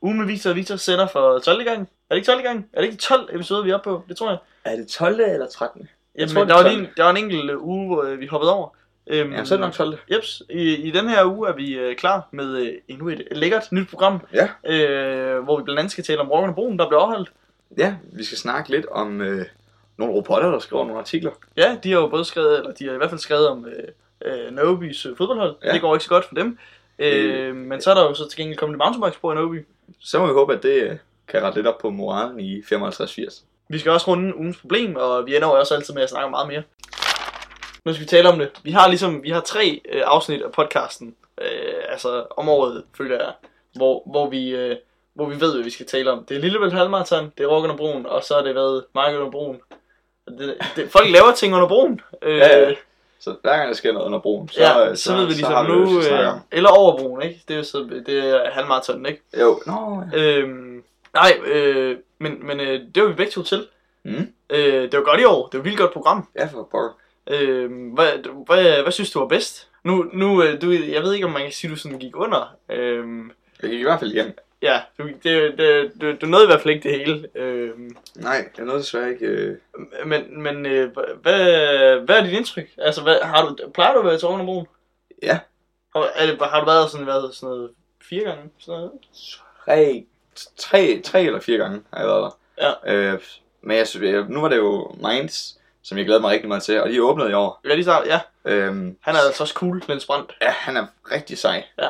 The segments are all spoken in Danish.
Ugen med Victor og Victor sender for 12. gang. Er det ikke 12. gang? Er det ikke 12 episoder, vi er oppe på? Det tror jeg. Er det 12. eller 13? Jamen, tror, tror, det der, er var 12. en, der var en enkelt øh, uge, hvor øh, vi hoppede over. Øhm, Ja, så er det nok 12. Jeps, i, i den her uge er vi øh, klar med øh, endnu et lækkert nyt program, Ja. øh, hvor vi blandt andet skal tale om Rockerne og Broen, der blev afholdt. Ja, vi skal snakke lidt om øh, nogle robotter, der skriver nogle artikler. Ja, de har jo både skrevet, eller de har i hvert fald skrevet om øh, øh, Naobis øh, fodboldhold. Ja. Ja. Det går ikke så godt for dem. Øh, men så er der jo så til gengæld kommet et mountainbikespor i Naobi. Så må vi håbe, at det øh, kan rette lidt op på moralen i 55-80. Vi skal også runde ugens problem, og vi ender jo også altid med at snakke om meget mere. Nu skal vi tale om det. Vi har ligesom, vi har tre øh, afsnit af podcasten, øh, altså om året, føler jeg, hvor, hvor vi... Øh, hvor vi ved, hvad vi skal tale om. Det er Lillebælt Halvmarathon, det er Rock under broen, og så er det været Mark under broen. Det, det, folk laver ting under broen. Øh, Ja, ja. Så hver gang der sker noget under broen, så, ja, øh, så, så ved vi har ligesom noget, vi nu, skal snakke om. øh, eller overbroen, ikke? Det er jo så, det er halvmaratonen, ikke? Jo, nå, ja. Øhm, nej, øh, men, men øh, det var vi begge to til. Mm. Øh, det var godt i år, det var et vildt godt program. ja for pokker. Øh, hvad, hvad, hvad synes du var bedst? Nu, nu øh, du, jeg ved ikke, om man kan sige, at du sådan gik under. Øh, Jeg gik i hvert fald hjem. ja, du, det, det, du, du nåede i hvert fald ikke det hele. Øh, Nej, jeg nåede desværre ikke... Øh... men men øh, hvad, hvad er dit indtryk? Altså, hvad, har du, plejer du at være til Rognerbroen? Ja. Og er det, har du været sådan, været sådan noget fire gange? Sådan noget? tre, tre, tre eller fire gange har jeg været der. Ja. Øh, men jeg, synes- jeg, nu var det jo Minds, som jeg glæder mig rigtig meget til, og de åbnede i år. Ja, lige snart, ja. Øhm, Han er altså også cool, Niels Brandt. ja, han er rigtig sej. Ja.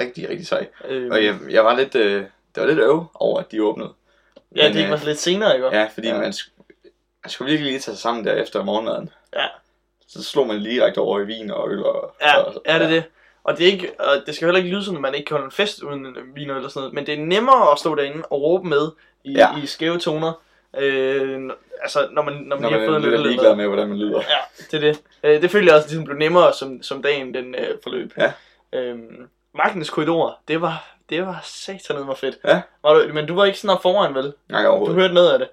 Rigtig, rigtig sej. Øh, Og jeg, jeg var lidt, øh, det var lidt øv over, at de åbnede. ja, men, det gik øh, mig så lidt senere, ikke? Ja, fordi Ja. ja. Man, sk- man skulle virkelig lige tage sig sammen der efter morgenmaden. Ja. Så slog man lige direkte over i vin og øl. Og, Ja, og, er det det? Og det, er ikke, og det skal heller ikke lyde sådan, at man ikke kan holde en fest uden vin eller sådan noget, men det er nemmere at stå derinde og råbe med i, Ja. ja. i skæve toner, øh, altså når man, når man, Når lige man har fået er en lidt øl eller ligeglad noget. med, hvordan man lyder. Ja, det er det. Øh, det følte jeg også ligesom blev nemmere, som, som dagen den øh, forløb. Ja. Øhm, Magtens korridor, det var, det var satan mig fedt. Ja. Var du, men du var ikke sådan op foran, vel? Nej, Du overhovedet. hørte noget af det.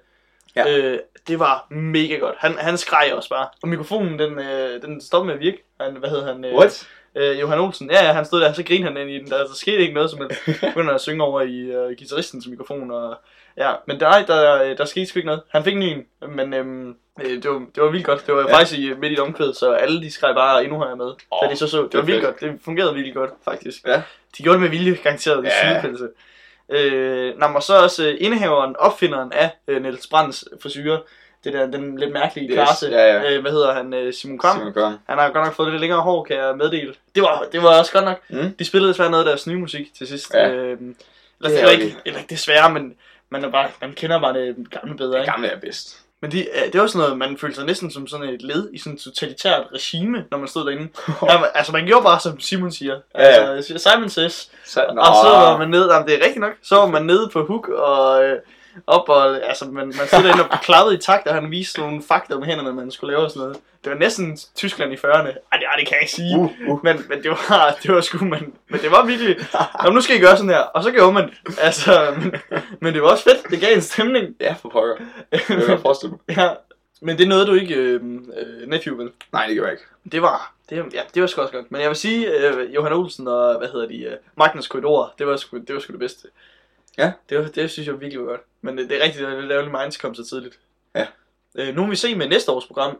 Ja. Øh, det var mega godt. Han, han skreg også bare. Og mikrofonen, den, øh, den stoppede med at virke. Han, hvad hed han? Øh, What? Øh, Johan Olsen. Ja, ja, han stod der, og så grinede han ind i den. Der, der skete ikke noget, som helst. begyndte at synge over i øh, guitaristens mikrofon. Og, ja, men der, der, øh, der skete sgu ikke noget. Han fik en ny, en, men øhm, øh, det, var, det var vildt godt. Det var Ja. ja. faktisk i, øh, midt i et omkvæd, så alle de skreg bare endnu højere med. Oh, Åh, da de så så. Det, det det er var vildt fedt. godt. Det fungerede vildt godt, faktisk. Ja. De gjorde det med vilje, garanteret. Det Ja. ja. sygepælse. Øh, nej, og så også øh, indehaveren, opfinderen af øh, Niels Brands frisyrer. Det der, den lidt mærkelige Yes, klasse. ja, ja. Øh, hvad hedder han? Øh, Simon Kvam. Simon Kvam. Han har godt nok fået lidt længere hår, kan jeg meddele. Det var, det var også godt nok. Mm. De spillede desværre noget af deres nye musik til sidst. Ja. Ja. Øhm, Det er eller, det var ærgerligt. ikke, eller ikke desværre, men man, er bare, man kender bare det gamle bedre. Det Ikke? gamle er bedst. Men de, øh, det var sådan noget, man følte sig næsten som sådan et led i sådan et totalitært regime, når man stod derinde. Ja, man- altså man gjorde bare, som Simon siger. Ja. Altså, Simon says. Så, nå, Og så var man nede, jamen, det er rigtigt nok, så var man nede på hook og... Øh, op og, altså, man, man stod derinde og klappede i takt, og han viste nogle fakta med hænderne, man skulle lave og sådan noget. Det var næsten Tyskland i 40'erne. Ej, det, ej, det kan jeg ikke sige. Uh, uh. Men, men det var, det var sgu, men, men det var virkelig, Nå, nu skal I gøre sådan her, og så gjorde man, altså, men, men det var også fedt, det gav en stemning. Ja, for pokker. Det kan jeg forestille mig. ja. Men det nåede du ikke, øh, øh, nephew, vel? Nej, det gør jeg ikke. Det var, det, ja, det var sgu også godt. Men jeg vil sige, øh, Johan Olsen og, hvad hedder de, øh, Magnus Korridor, det var, sgu, det var sgu det bedste. Ja. Det, var, det synes jeg virkelig var godt. Men øh, det, det er rigtigt, at det lavede Minds kom så tidligt. Ja. Øh, nu må vi se med næste års program.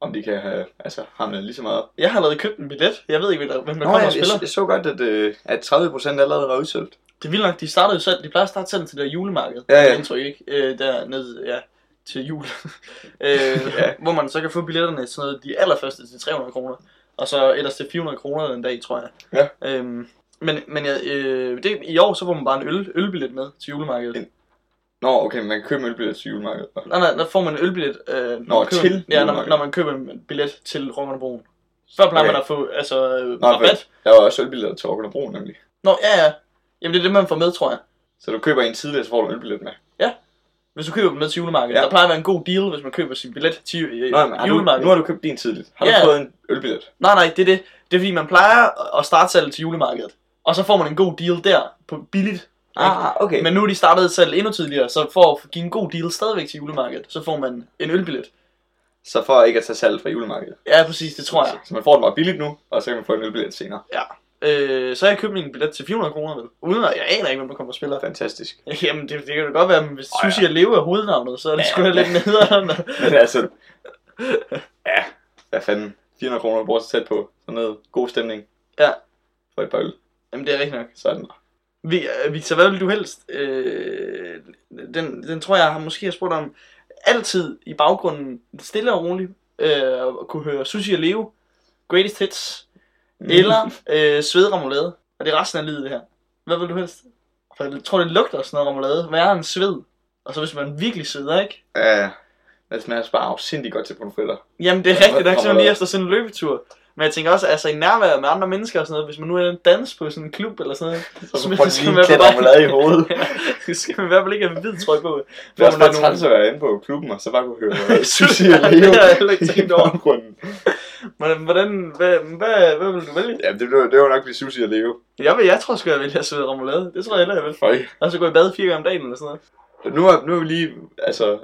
Om de kan have, altså, hamle lige så meget op. Jeg har allerede købt en billet. Jeg ved ikke, hvem der, hvem der Nå, kommer jeg, og spiller. jeg, jeg, så godt, at, øh, at 30% allerede var udsolgt. Det er vildt nok, de startede jo selv, de plejer at starte selv til det der julemarked, Ja, ja. mit indtryk, ikke? Øh, der ned, ja, til jul. øh, Ja. ja. Hvor man så kan få billetterne til sådan noget, de allerførste til 300 kroner, og så ellers til 400 kroner den dag, tror jeg. Ja. Øhm, men men jeg, øh, det, i år, så får man bare en øl, ølbillet med til julemarkedet. En- Nå, okay, man kan købe ølbilletter til julemarkedet. Nej, nej, der får man en ølbillet, øh, Nå, når, man køber, til ja, når, man, julemarkedet. når man køber en billet til Rokkernebroen. Før plejer okay. Okay. man at få altså, øh, Nå, rabat. Der var også ølbilletter til Aarhus Bro, nemlig. Nå, ja, ja. Jamen, det er det, man får med, tror jeg. Så du køber en tidligere, så får du en ølbillet med. Hvis du køber dem med til julemarkedet, Ja. ja. der plejer at være en god deal, hvis man køber sin billet til øh, Nå, men har du, julemarkedet. nu har du købt din tidligt. Har Ja. du fået en ølbillet? Nej, nej, det er det. Det er fordi, man plejer at starte salget til julemarkedet. Og så får man en god deal der, på billigt. Ah, okay. Okay. Men nu er de startet salg endnu tidligere, så for at give en god deal stadigvæk til julemarkedet, så får man en ølbillet. Så for ikke at tage salg fra julemarkedet. Ja, præcis, det tror jeg. Så man får den meget billigt nu, og så kan man få en ølbillet senere. Ja. Øh, så har jeg købt min billet til 400 kroner, vel? Uden at jeg aner ikke, hvem der kommer og spiller. Fantastisk. Jamen, det, det kan jo godt være, men hvis Åh, oh, ja. ja. Sushi er leve af hovednavnet, så er det Ja, sgu da ja. lidt nederen. Men altså... ja, hvad fanden. 400 kroner bruger sig tæt på. Sådan noget god stemning. Ja. For et bøl. Jamen, det er rigtigt nok. Sådan. Vi, øh, Victor, hvad vil du helst? Øh, den, den tror jeg har måske har spurgt om. Altid i baggrunden, stille og roligt, øh, at kunne høre Sushi og Leo, Greatest Hits, mm. eller øh, svedremoulade. Og det er resten af livet, det her. Hvad vil du helst? For jeg tror, det lugter sådan noget remoulade. Værre end sved. Og så hvis man virkelig sveder, ikke? Ja. Det smager bare afsindig godt til pomfritter. Jamen, det er Ja, rigtigt hvad nok, sådan kommer lige der? efter sådan en løbetur. Men jeg tænker også, altså i nærværet med andre mennesker og sådan noget, hvis man nu er en dans på sådan en klub eller sådan noget, Så Så får man- man så lige man en klat bare- remoulade i hovedet. så skal man i hvert fald ikke have en hvid trøje på. Det er også Hvor man bare er træls at være inde på klubben, og så bare kunne høre Sushi Ja, og Leo. det har jeg heller ikke tænkt over. i baggrunden. Men hvordan, hvad, hvad, hvad vil du vælge? Ja, det, blev- det var nok blive Sushi og Leo. Jeg, vil, jeg tror sgu, jeg vil have svede remoulade. Det tror jeg heller, jeg vil. Fuck. Og så gå i bad fire gange om dagen eller sådan noget. Nu har, nu har vi lige, altså,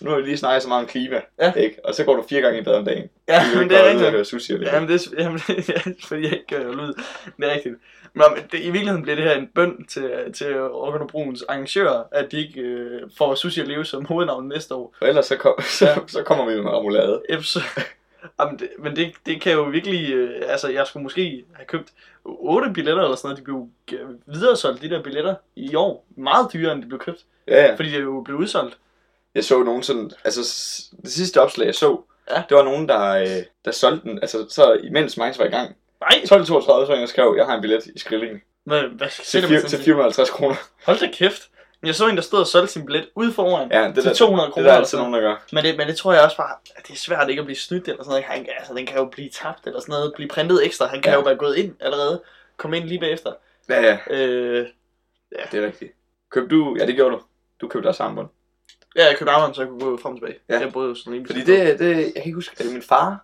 nu har vi lige snakket så meget om klima, Ja. ikke? Og så går du fire gange i bad om dagen. Ja, men det er rigtigt. at høre sushi og Ja, Leo. men det er, jamen, det er, fordi jeg ikke gør lyd. Det er rigtigt. Nå, Men det, i virkeligheden bliver det her en bøn til, til Orkund Bruns arrangører, at de ikke øh, får Sushi og Leve som hovednavn næste år. For ellers så, kom, så, så kommer vi med remoulade. Eps- Jamen, det, men det, det kan jo virkelig... Øh, altså, jeg skulle måske have købt otte billetter eller sådan noget. De blev øh, videresolgt, de der billetter, i år. Meget dyrere, end de blev købt. Ja, ja. Fordi de jo blev udsolgt. Jeg så nogen sådan, altså s- det sidste opslag jeg så, Ja. det var nogen, der, øh, der solgte den, altså så imens mange var i gang. Nej, 12.32 så var jeg og skrev, jeg har en billet i Skrilling hvad, hvad til, til, fir- til 450 kroner. Hold da kæft. Jeg så en, der stod og solgte sin billet ude foran. Ja, det til der, 200 det kroner. der er eller altid sådan noget. nogen, der gør. Men det, men det tror jeg også bare, at det er svært ikke at blive snydt eller sådan noget. Han, altså, den kan jo blive tabt eller sådan noget, blive printet ekstra. Han kan Ja. ja. jo være gået ind allerede, komme ind lige bagefter. Ja, ja, Øh, det er rigtigt. Købte du, ja det gjorde du, du købte også armbånd. ja, jeg købte armbånd, så jeg kunne gå frem og tilbage. Ja. Jeg boede jo sådan rimelig Fordi tæt det, det, jeg kan ikke huske, er det min far? Der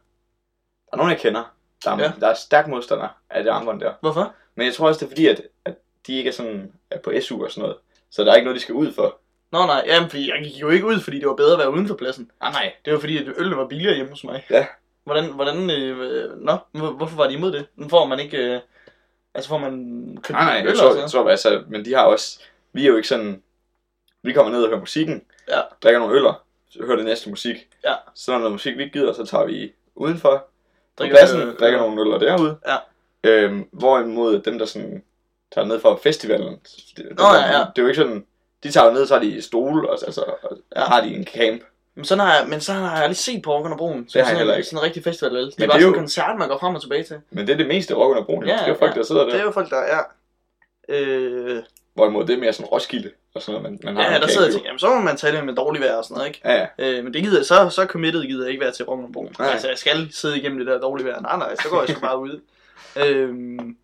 er nogen, jeg kender, der er, Ja. ja. der er stærk modstander af det armbånd der. på. Hvorfor? Men jeg tror også, det er fordi, at, at de ikke er sådan er på SU og sådan noget. Så der er ikke noget, de skal ud for. Nå nej, jamen, fordi jeg gik jo ikke ud, fordi det var bedre at være uden for pladsen. Ah, nej. Det var fordi, at ølene var billigere hjemme hos mig. Ja. Hvordan, hvordan, øh, nå, hvor- hvorfor var de imod det? Nu får man ikke, øh, altså får man købt Ah, Nej, nej, øl jeg og tror, sådan jeg noget. tror altså, men de har også, vi er jo ikke sådan, vi kommer ned og hører musikken, Ja. drikker nogle øller, så hører det næste musik. Ja. Så når noget musik, vi ikke gider, så tager vi udenfor, drikker Drikker på pladsen, øl. drikker nogle øller derude. Ja. Øhm, hvorimod dem, der sådan tager ned fra festivalen, det, Nå, ja, ja. det er jo ikke sådan, de tager jo ned, så har de stole, og, altså, og Ja. ja. har de en camp. Men sådan har jeg, men så har jeg lige set på Orkund og Broen. Det har jeg sådan, heller en- ikke. Sådan en rigtig festival, vel? Det Men er bare det er sådan en jo- koncert, man går frem og tilbage til. Men det er det meste af rock under broen, Ja, ja, det er jo folk, ja. der sidder der. Det er jo folk, der er... Øh, Hvorimod det er mere sådan Roskilde og sådan noget, man, man har. ja, en der camp sidder jeg og jo. tænker, jamen, så må man tage det med dårlig vejr og sådan noget, ikke? Ja, ja. Øh, men det gider jeg, så, så committed gider jeg ikke være til Rokkernbro. Nej. Altså, jeg skal sidde igennem det der dårlige vejr. Nej, nej, så går jeg sgu bare ud. Øhm,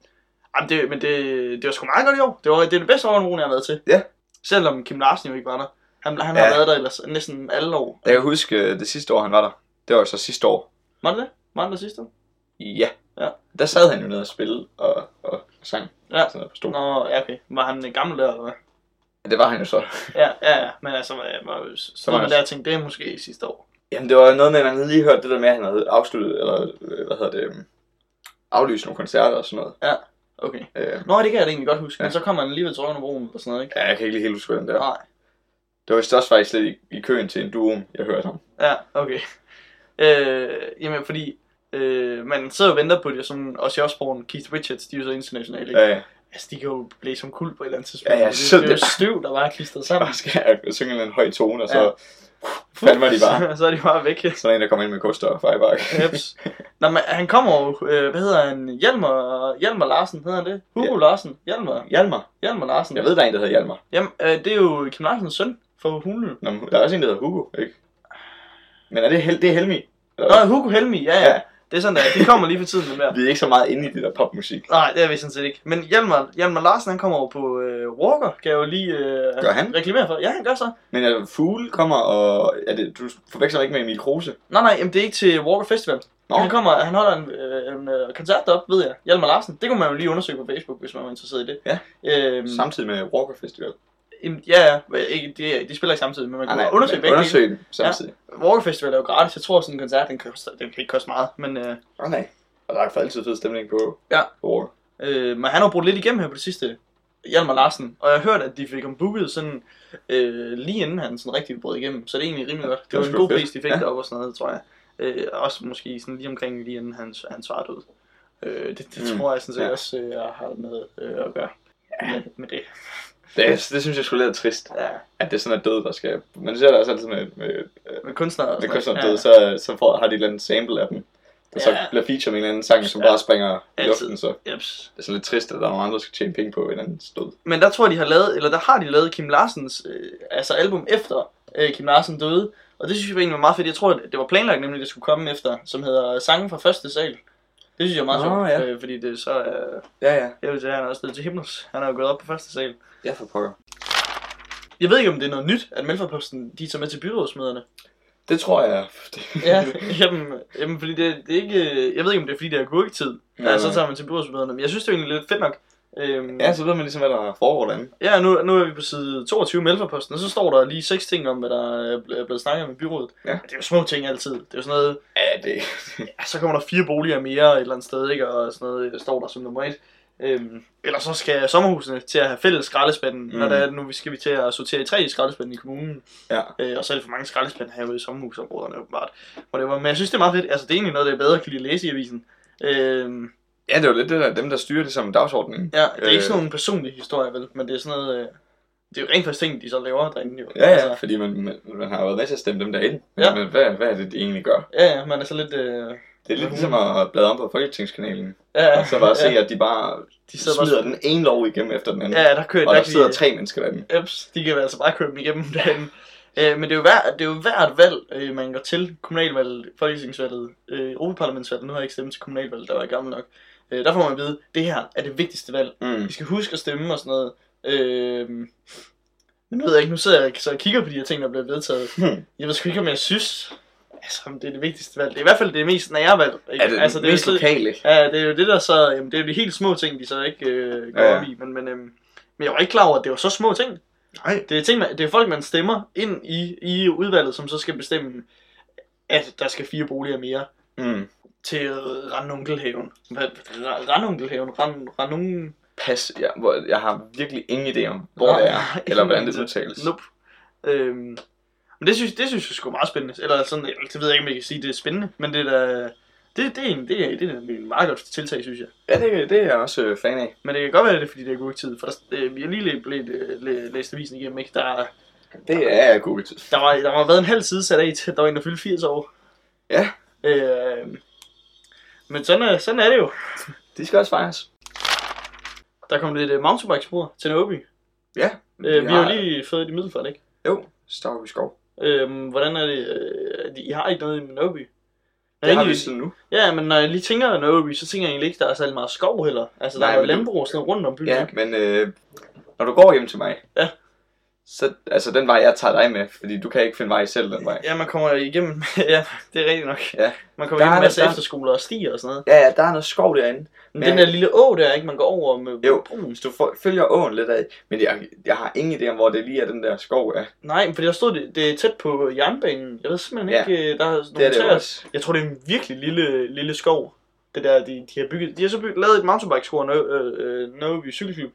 jamen det, men det, det var sgu meget godt i år. Det, var, det er det bedste Rokkernbro, jeg har været til. Ja. Selvom Kim Larsen jo ikke var der. Han, han Ja. har været der ellers næsten alle år. Jeg kan huske øh, det sidste år, han var der. Det var jo så sidste år. Var det det? Var det der sidste år? Ja. Ja. Der sad han jo nede og spille og, og sang. Ja. Sådan noget på stol. Nå, ja, okay. Var han øh, gammel der, eller hvad? Det var han jo så. Ja, ja, ja. Men altså, var, var, så var var man der og tænkte, det er måske sidste år. Jamen, det var noget med, at man havde lige hørt det der med, at han havde afsluttet, eller øh, hvad hedder det, øhm, aflyst nogle koncerter og sådan noget. Okay. Øh, Nå, det kan jeg da egentlig godt huske. Ja. Ja. Men så kommer han alligevel til Røgnebroen og sådan noget, ikke? ja, jeg kan ikke lige helt huske, hvordan det Ja. er. Nej. Det var vist også faktisk lidt i, i køen til en duo, jeg hørte om. Ja, okay. Øh, jamen, fordi øh, man sidder og venter på det, som også i Osborne, Keith Richards, de er jo så internationale, ikke? Ja. Ja, ja. Altså, de kan jo blive som kul på et eller andet tidspunkt. Ja, ja, det, så det, er jo det- støv, der bare er klistret sammen. Bare skal jeg synge en eller anden høj tone, og så Ja. ja. fandme de bare. så er de bare væk. Sådan en, der kommer ind med koster og fejbakke. Eps. Nå, men han kommer jo, øh, hvad hedder han, Hjalmar, Hjalmar Larsen, hedder han det? Hugo ja. Larsen, Hjalmar, Hjalmar. Hjalmar Larsen. Jeg ved, der er en, der hedder Hjalmar. Jamen, øh, det er jo Kim Larsens søn fra Hunløb. Nå, men der er også en, der hedder Hugo, ikke? Men er det, Hel- det er Helmi? Eller hvad? Nå, Hugo Helmi, ja, ja. Ja. Det er sådan, der. det kommer lige for tiden, det der. Vi er ikke så meget inde i det der popmusik. Nej, det er vi sådan set ikke. Men Hjalmar, Hjalmar Larsen, han kommer over på øh, Walker, kan jeg jo lige øh, Gør han? reklamere for. Ja, han gør så. Men altså, Fugle kommer og... Er det, du forveksler ikke med Emil Kruse? Nej, nej, jamen, det er ikke til Walker Festival. Nå. Han kommer, han holder en, øh, en øh, koncert deroppe, ved jeg. Hjalmar Larsen, det kunne man jo lige undersøge på Facebook, hvis man var interesseret i det. Ja. Øhm, Samtidig med Walker Festival. Ah, jamen, ja, ja, men ikke, de, de spiller ikke samtidig, men man kan undersøge begge begge dele. Undersøg den samtidig. Walker Festival er jo gratis. Jeg tror, sådan en koncert, den, koster, den kan ikke koste meget. Men øh, Ja. nej. Og der er for altid fed stemning på, Ja. på Walker. Øh, men han har brugt lidt igennem her på det sidste, Hjalmar Larsen. Og jeg har hørt, at de fik ham booket sådan, øh, lige inden han sådan rigtig brød igennem. Så det er egentlig rimelig godt. Det var det en var god fedt. pris, de fik Ja. ja. deroppe og sådan noget, tror jeg. Øh, også måske sådan lige omkring lige inden hans, hans far døde. Øh, det, det Mm, tror jeg sådan set ja. også, øh, jeg har med øh, at gøre. Med, med det. Det, det synes jeg skulle lidt trist, Ja, at det sådan er død, der skal... Man ser det også altid med, med, med kunstnere og med sådan kunstnere noget. døde, så, så får, har de et eller andet sample af dem. Der så Ja. bliver feature med en eller anden sang, som Ja. bare springer i Altid. luften, så Ja, jeps. det er sådan lidt trist, at der er nogen andre, der skal tjene penge på en anden stød. Men der tror jeg, de har lavet, eller der har de lavet Kim Larsens øh, altså album efter øh, Kim Larsen døde. Og det synes jeg egentlig var meget fedt. Jeg tror, at det var planlagt nemlig, det skulle komme efter, som hedder Sangen fra første sal. Det synes jeg er meget Nå, sjovt, ja. øh, fordi det så er... Øh, Ja, ja. jeg vil sige, han er også blevet til Himnos. Han er jo gået op på første sal. Ja, for pokker. Jeg ved ikke, om det er noget nyt, at Melforposten, de tager med til byrådsmøderne. Det tror jeg. Ja, jamen, jamen fordi det, det er ikke... øh, Jeg ved ikke, om det er, fordi det er gurketid. Nej, Ja, ja, så nej. tager man til byrådsmøderne. Men jeg synes, det er egentlig lidt fedt nok. Øhm, ja, så ved man ligesom, hvad der foregår derinde. Ja, nu, nu er vi på side 22 i Melforposten, og så står der lige seks ting om, hvad der øh, er ble- blevet snakket om i byrådet. Ja. Det er jo små ting altid. Det er jo sådan noget, Ja, det... ja, så kommer der fire boliger mere et eller andet sted, ikke? og sådan noget øh, står der som nummer et. Øhm, eller så skal sommerhusene til at have fælles skraldespanden, mm. når Mm. det er, at nu skal vi til at sortere i tre skraldespanden i kommunen. Ja. Øh, og så er det for mange skraldespande herude i sommerhusområderne åbenbart. Hvor det var, men jeg synes, det er meget fedt. Altså, det er egentlig noget, det er bedre at kan lide at læse i avisen. Øhm, Ja, det er jo lidt det der, dem der styrer ligesom dagsordenen. ja, det er øh. Øh. ikke sådan nogle personlige historier, vel? Men det er sådan noget... Øh, det er jo rent faktisk ting, de så laver derinde, jo. Altså, Ja, ja, Altså, fordi man, man, man har været med til at stemme dem derinde. Ja. Ja. Men hvad, hvad er det, de egentlig gør? Ja, ja, man er så lidt... Øh, Det er lidt ligesom at bladre om på Folketingskanalen, ja, og så bare se, ja, at de bare de sidder smider bare... den ene lov igennem efter den anden. Ja, der kører Og der, der kan sidder de, tre mennesker derinde. Eps, de kan altså bare køre dem igennem derinde. Øh, men det er, jo hver, det er jo hvert valg, øh, man går til. Kommunalvalget, Folketingsvalget, øh, Europaparlamentsvalget. Nu har jeg ikke stemt til kommunalvalget, der var jeg gammel nok. Øh, der får man at vide, det her er det vigtigste valg. Mm. I skal huske at stemme og sådan noget. Øh, men nu ved jeg ikke, nu sidder jeg så og kigger på de her ting, der bliver vedtaget. Hmm. Jeg ved sgu ikke, om jeg synes, altså, om det er det vigtigste valg. Det er i hvert fald det mest nære valg. Ikke? Er det altså, det jo mest slet- lokale? Ja, det er jo det der så, jamen, det er jo de helt små ting, de så ikke øh, går Ja, ja. op i, men, men, øhm, men jeg var ikke klar over, at det var så små ting. Nej. Det er, ting, man, det er folk, man stemmer ind i, i udvalget, som så skal bestemme, at der skal fire boliger mere Mm. til Randunkelhaven. Hvad- Ra- Randunkelhaven? Rand, Randungen... Pas, jeg, hvor, jeg har virkelig ingen idé om, hvor det er, eller hvordan det udtales. Nope. Øhm, men det synes, det synes jeg sgu er meget spændende. Eller sådan, eller det ved jeg ikke, om jeg kan sige, det er spændende, men det er da... Det, det, er en, det, er, det er en meget godt tiltag, synes jeg. Ja, det, det er jeg også øh, fan af. Men det kan godt være, at det er fordi, det er god tid. For der, øh, vi har lige læ- blæ- øh, læ- læst avisen igennem, ikke? Der, Det er jeg god til. der, var, der var været en halv side sat af til, at der var en, der fyldte 80 år. Ja. Øh, men sådan er, sådan er det jo. De skal også fejres. Der kom lidt uh, mountainbikespor til Nåby. Ja. Øh, vi har jo lige fået det i Middelfart, ikke? Jo, Stavby Skov. Øh, hvordan er det? Øh, at I har ikke noget i Nåby? Det har vi siden nu. Ja, men når jeg lige tænker Nåby, så tænker jeg egentlig ikke, der er særlig meget skov heller. Altså, der Nej, er jo men du- landbrug og sådan noget rundt om byen. Ja, ikke? men øh, når du går hjem til mig, Ja. så altså den vej, jeg tager dig med, fordi du kan ikke finde vej selv den vej. Ja, man kommer igennem, ja, det er rigtigt nok. Ja. Man Der kommer igennem er en masse der- der- efterskoler og stier og sådan noget. Ja, ja, der er noget skov derinde. Men Ja. den der lille å der, ikke? Man går over med Jo. broen. Hvis du for, følger åen lidt af, men jeg, jeg har ingen idé om, hvor det lige er, den der skov er. Nej, for der stod, det, det er tæt på jernbanen. Jeg ved simpelthen Ja. ikke, øh, der er nogle Det er det jo træer. også. Jeg tror, det er en virkelig lille, lille skov. Det der, de, de har bygget. De har så bygget, lavet et mountainbike-skor, Nå- øh, øh, Nåby Cykelklub.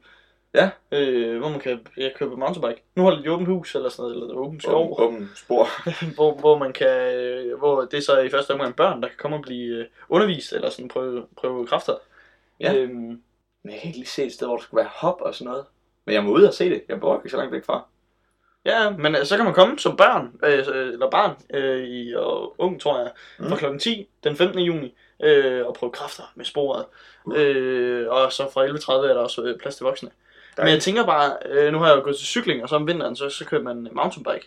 Ja. Øh, hvor man kan ja, købe mountainbike. Nu holder de åbent hus eller sådan noget, eller åben skov, Åben, åben spor. hvor, hvor, man kan, øh, hvor det er så i første omgang børn, der kan komme og blive øh, undervist, eller sådan prøve, prøve kræfter. Ja. Øhm, Men jeg kan ikke lige se et sted, hvor der skulle være hop og sådan noget. Men jeg må ud og se det. Jeg bor ikke så langt væk fra. Ja, men øh, så kan man komme som børn, øh, øh, eller barn, øh, i, og ung tror jeg, fra Mm. klokken 10 den 15. juni, øh, og prøve kræfter med sporet. Uh. Øh, og så fra 11.30 er der også øh, plads til voksne. Men jeg Dejligt. tænker bare, øh, nu har jeg jo gået til cykling, og så om vinteren, så, så kører man mountainbike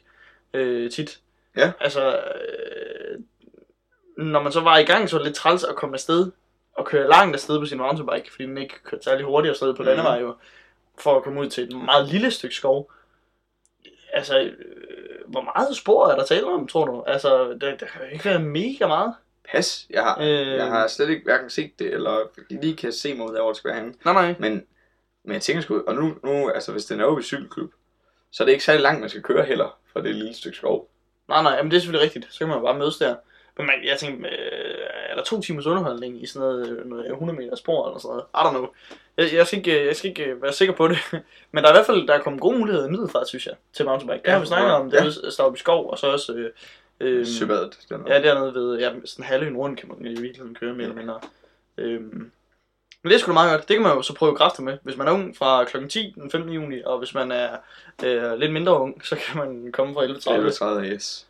øh, tit. Ja. Altså, øh, når man så var i gang, så var det lidt træls at komme afsted og køre langt afsted på sin mountainbike, fordi den ikke kørte særlig hurtigt afsted på Mhm. landevej jo, for at komme ud til et meget lille stykke skov. Altså, øh, hvor meget spor er der tale om, tror du? Altså, der, der kan jo ikke være mega meget. Pas. Jeg har, Øh, jeg har slet ikke hverken set det, eller lige kan se mig ud af, hvor det skal være henne. Øh, Nej, nej. Men, men jeg tænker sgu, og nu, nu altså hvis det er Norge Cykelklub, så er det ikke særlig langt, man skal køre heller fra det lille stykke skov. Nej, nej, jamen det er selvfølgelig rigtigt. Så kan man jo bare mødes der. Men man, jeg tænkte, øh, er der to timers underholdning i sådan noget, øh, noget 100 meter spor eller sådan noget? I don't know. Jeg, jeg, skal ikke, øh, jeg skal ikke øh, være sikker på det. Men der er i hvert fald der er kommet gode muligheder i Middelfart, synes jeg, til mountainbike. Det Ja, har vi snakket ja. om. Det er ja. Stavby Skov, og så også... Øh, øh, Søbadet. Den Ja, dernede ved ja, sådan halvøen rundt kan man i virkeligheden køre mere eller mindre. Øhm, men det er sgu da meget godt. Det kan man jo så prøve kræfter med. Hvis man er ung fra kl. 10 den 15. juni, og hvis man er øh, lidt mindre ung, så kan man komme fra 11.30. 11.30, yes. Øh,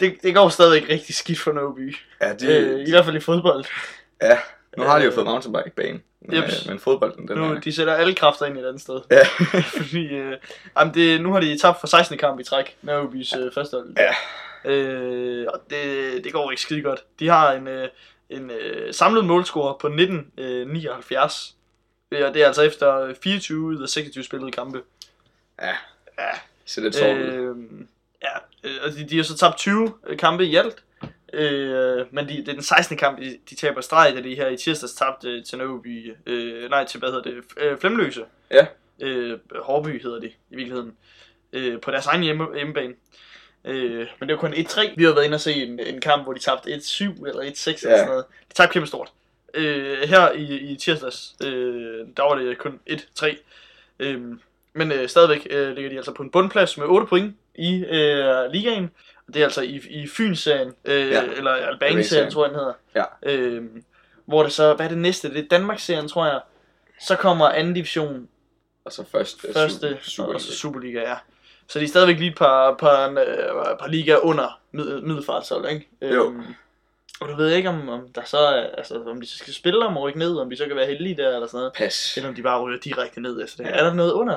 Det, det går stadigvæk rigtig skidt for Nåby. Ja, de, Øh, I hvert fald i fodbold. ja, nu har de jo øh, fået mountainbike-bane. Men, jeps. øh, men fodbolden, den Nu, er... de sætter alle kræfter ind i et andet sted. Ja, Fordi, øh, jamen det, nu har de tabt for 16. kamp i træk, Nørrebys øh, første hold. Ja. Øh, og det, det går ikke skide godt. De har en, øh, en øh, samlet målscore på 1979. Øh, og det er altså efter 24 ud af 26 spillede kampe. så det tror øh, Øh, ja, øh, og de, de har så tabt 20 kampe i alt. Øh, men de, det er den 16. kamp, de, de taber i streg, da de her i tirsdags tabte øh, til Nørreby, øh, nej til, hvad hedder det, F- øh, Flemløse. Ja. Øh, Hårby hedder det i virkeligheden, øh, på deres egen hjemme, hjemmebane. Øh, men det var kun 1-3. Vi har været inde og se en, en kamp, hvor de tabte 1-7 eller 1-6 eller Ja. sådan noget. De tabte kæmpe stort. Øh, her i, i tirsdags, øh, der var det kun 1-3. Øh, men øh, stadigvæk øh, ligger de altså på en bundplads med 8 point i øh, ligaen. Det er altså i, i Fyns-serien, øh, ja. Ja. eller Albani-serien, Albani-serien. tror jeg, den hedder. Ja. Øh, hvor det så, hvad er det næste? Det er Danmarks-serien, tror jeg. Så kommer anden division, Og så først øh, første, Su- og så Superliga. Superliga, ja. Så de er stadigvæk lige et par, par, øh, par ligaer under mid, middelfartshold, ikke? Jo. Øhm, og du ved ikke, om, om, der så, er- altså, om de så skal spille om og rykke ned, om de så kan være heldige der, eller sådan noget. Pas. Eller om de bare ryger direkte ned efter det. Ja. Ja. Er der noget under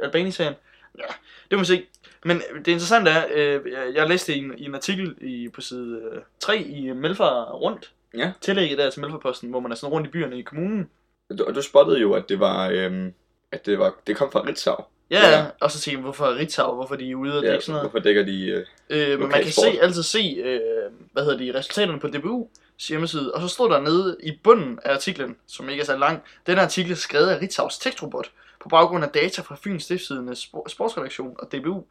Albani-serien? Ja, det må vi se. Men det interessante er, øh, jeg- jeg læste i en, i en artikel i, på side øh, 3 i Melfar Rundt. Ja. Tillægget der til Melfarposten, hvor man er sådan rundt i byerne i kommunen. Du, og du spottede jo, at det var... Øhm, at det, var, det kom fra Ritzau. Ja, Ja. ja. og så tænker jeg, hvorfor er Ritzau, hvorfor er de er ude og ja, Ja, dække sådan noget. hvorfor dækker de... Øh, Øh, men man Lokal kan sport. se, altid se, øh, hvad hedder det, resultaterne på DBU's hjemmeside, og så står der nede i bunden af artiklen, som ikke er så lang, den her artikel er skrevet af Ritzau's Tekstrobot, på baggrund af data fra Fyns Stiftsidende spor- sportsredaktion og DBU.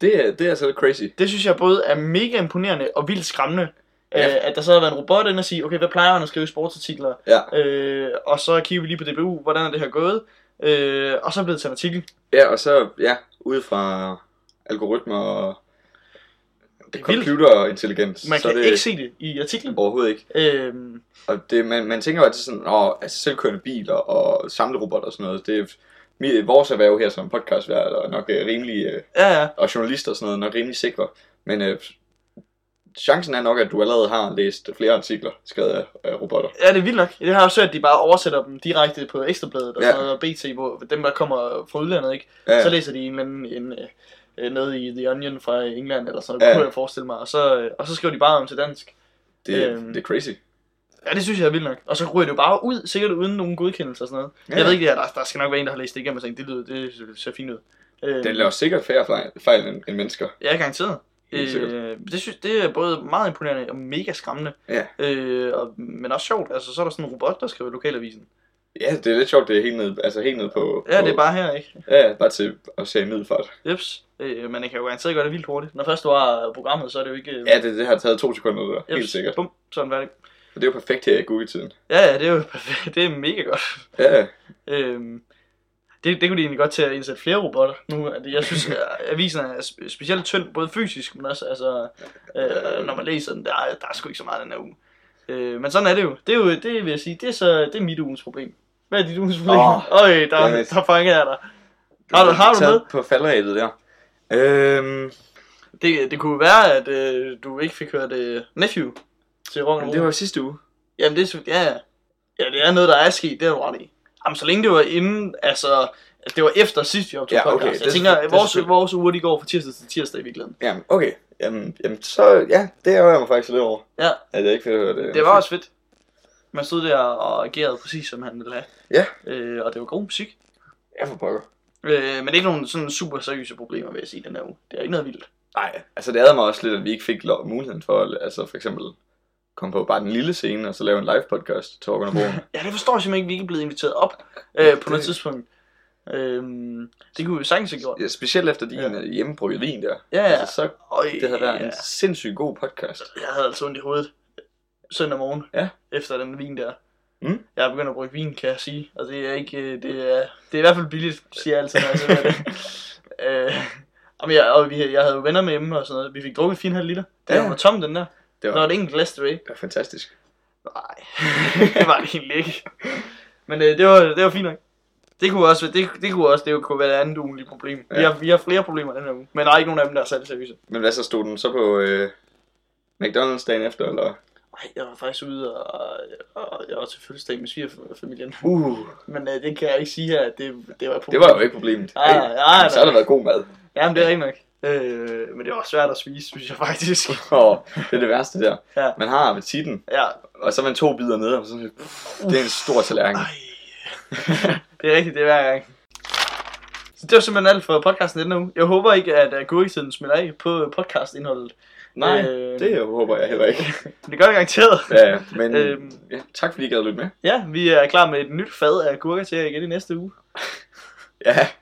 det, er, det er altså lidt crazy. Det synes jeg både er mega imponerende og vildt skræmmende, Ja. ja. øh, at der så har været en robot inde og sige, okay, hvad plejer man at skrive i sportsartikler? Ja. Øh, og så kigger vi lige på DBU, hvordan er det her gået? Øh, og så er det blevet til en artikel. Ja, og så, ja, ud fra algoritmer og Det er vildt. computerintelligens. Man så kan er det... det ikke se det i artiklen. Overhovedet ikke. Øh, Og det, man, man tænker jo altid sådan, at altså selvkørende biler og samlerobotter og sådan noget, det er mit, vores erhverv her som podcastvært og nok øh, rimelig, øh, ja, ja. og journalister og sådan noget, nok rimelig sikre. Men øh, chancen er nok, at du allerede har læst flere artikler skrevet af øh, robotter. Ja, det er vildt nok. Jeg har også hørt, at de bare oversætter dem direkte på Ekstrabladet og, Ja. ja. sådan noget, og BT, hvor dem, der kommer fra udlandet, ikke? Ja, Ja. ja. så læser de en eller anden en, øh, øh, nede i The Onion fra England eller sådan Ja. noget, ja. kunne jeg forestille mig. Og så, øh, og så skriver de bare om til dansk. det, øhm, det er crazy. Ja, det synes jeg er vildt nok. Og så ryger det jo bare ud, sikkert uden nogen godkendelse og sådan noget. Ja, Ja. Jeg ved ja. ikke, ja, der, der skal nok være en, der har læst det igennem og tænkt, det lyder, det ser fint ud. Øh, Den laver sikkert færre fejl, fejl end, end mennesker. Ja, garanteret. Helt sikkert. Øh, det, synes, det er både meget imponerende og mega skræmmende. Ja. Øh, og, men også sjovt. Altså, så er der sådan en robot, der skriver i lokalavisen. Ja, det er lidt sjovt, det er helt ned, altså helt ned på... Ja, på, det er bare her, ikke? Ja, bare til at se middelfart. Jeps, øh, men jeg kan jo garanteret gøre det vildt hurtigt. Når først du har programmet, så er det jo ikke... Øh, Ja, det, det har taget to sekunder, det der. jeps, helt sikkert. Bum, sådan var det. Og det er jo perfekt her i Google-tiden. Ja, ja, det er jo perfekt. Det er mega godt. Ja, ja. Øhm, det, det kunne de egentlig godt til at indsætte flere robotter nu. At jeg synes, at avisen er spe- specielt tynd, både fysisk, men også altså, øh, når man læser den, der, er- der er sgu ikke så meget den her uge. Øh, men sådan er det jo. Det, er jo, det vil jeg sige, det er, så, det er mit ugens problem. Hvad er dit ugens problem? Åh, Øj, der, dammit. der fanger jeg dig. Har du, har du taget med? på falderæbet der. Øhm, Det, det kunne være, at øh, du ikke fik hørt øh, Nephew til Rock men det var jo sidste uge. Jamen, det er, sgu- ja, ja. ja, det er noget, der er sket, det har du ret i. Jamen, så længe det var inden, altså, det var efter sidst, vi optog Ja, ja, okay, okay. podcast. det Jeg er tænker, selvfølgelig- at det er vores, selvfølgelig- vores uger, de går fra tirsdag til tirsdag i virkeligheden. Jamen, okay. Jamen, jamen så, ja, det ærger jeg mig faktisk lidt over. Ja. At jeg ikke fik hørt øh, det. Det var også fedt. Man stod der og agerede præcis, som han ville have. Ja. Øh, og det var god musik. Jeg for pokker. Øh, men ikke nogen sådan super seriøse problemer, vil jeg sige, den her uge. Det er ikke noget vildt. Nej, altså det ærger mig også lidt, at vi ikke fik lov, muligheden for at altså for eksempel komme på bare den lille scene, og så lave en live podcast til Organ og Broen. Ja, det forstår jeg simpelthen ikke, vi ikke er blevet inviteret op øh, på Det- noget tidspunkt. Øhm, det kunne vi sagtens have gjort. Ja, specielt efter din ja. hjemmebrygget vin der. Ja, ja. Altså, så, Øj, det havde været ja. en sindssygt god podcast. Jeg havde altså ondt i hovedet søndag morgen, Ja. efter den vin der. Mm. Jeg er begyndt at bruge vin, kan jeg sige. Og det er ikke, øh, det er, det er i hvert fald billigt, siger jeg altid, når jeg ser det. Øh, jamen, jeg, og vi, jeg havde jo venner med hjemme og sådan noget. Vi fik drukket 4,5 liter. Den Ja. ja. var tom, den der. Det Der var, var et enkelt glas tilbage. det var fantastisk. Nej, det var det egentlig ikke. Men øh, det, var, det var fint nok. Det kunne også, det, det kunne også, det kunne være et andet ugenlige problem. Ja. Vi, Ja. har, vi har flere problemer den her uge, men der er ikke nogen af dem, der er særlig seriøse. Men hvad så stod den så på øh, McDonald's dagen efter, eller? Nej, jeg var faktisk ude, og, og jeg var til fødselsdag med svigerfamilien. Uh, Men øh, det kan jeg ikke sige her, at det, det var et problem. det var jo ikke problemet. Nej, nej, nej, så har der været god mad. Jamen, det er ikke nok. Øh, men det var svært at spise, synes jeg faktisk. Og det er det værste der. Ja. Man har appetitten, Ja, og så er man to bidder nede, og så det er en stor tallerken. Ej. det er rigtigt, det er hver gang. Så det var simpelthen alt for podcasten denne uge. Jeg håber ikke, at agurketiden smitter af på øh, podcastindholdet. Nej, Øh. det Mm. håber jeg heller ikke. Men det gør det garanteret. Ja, men Øhm. ja, tak fordi I gad lytte med. Ja, vi er klar med et nyt fad af agurker til jer igen i næste uge. Ja,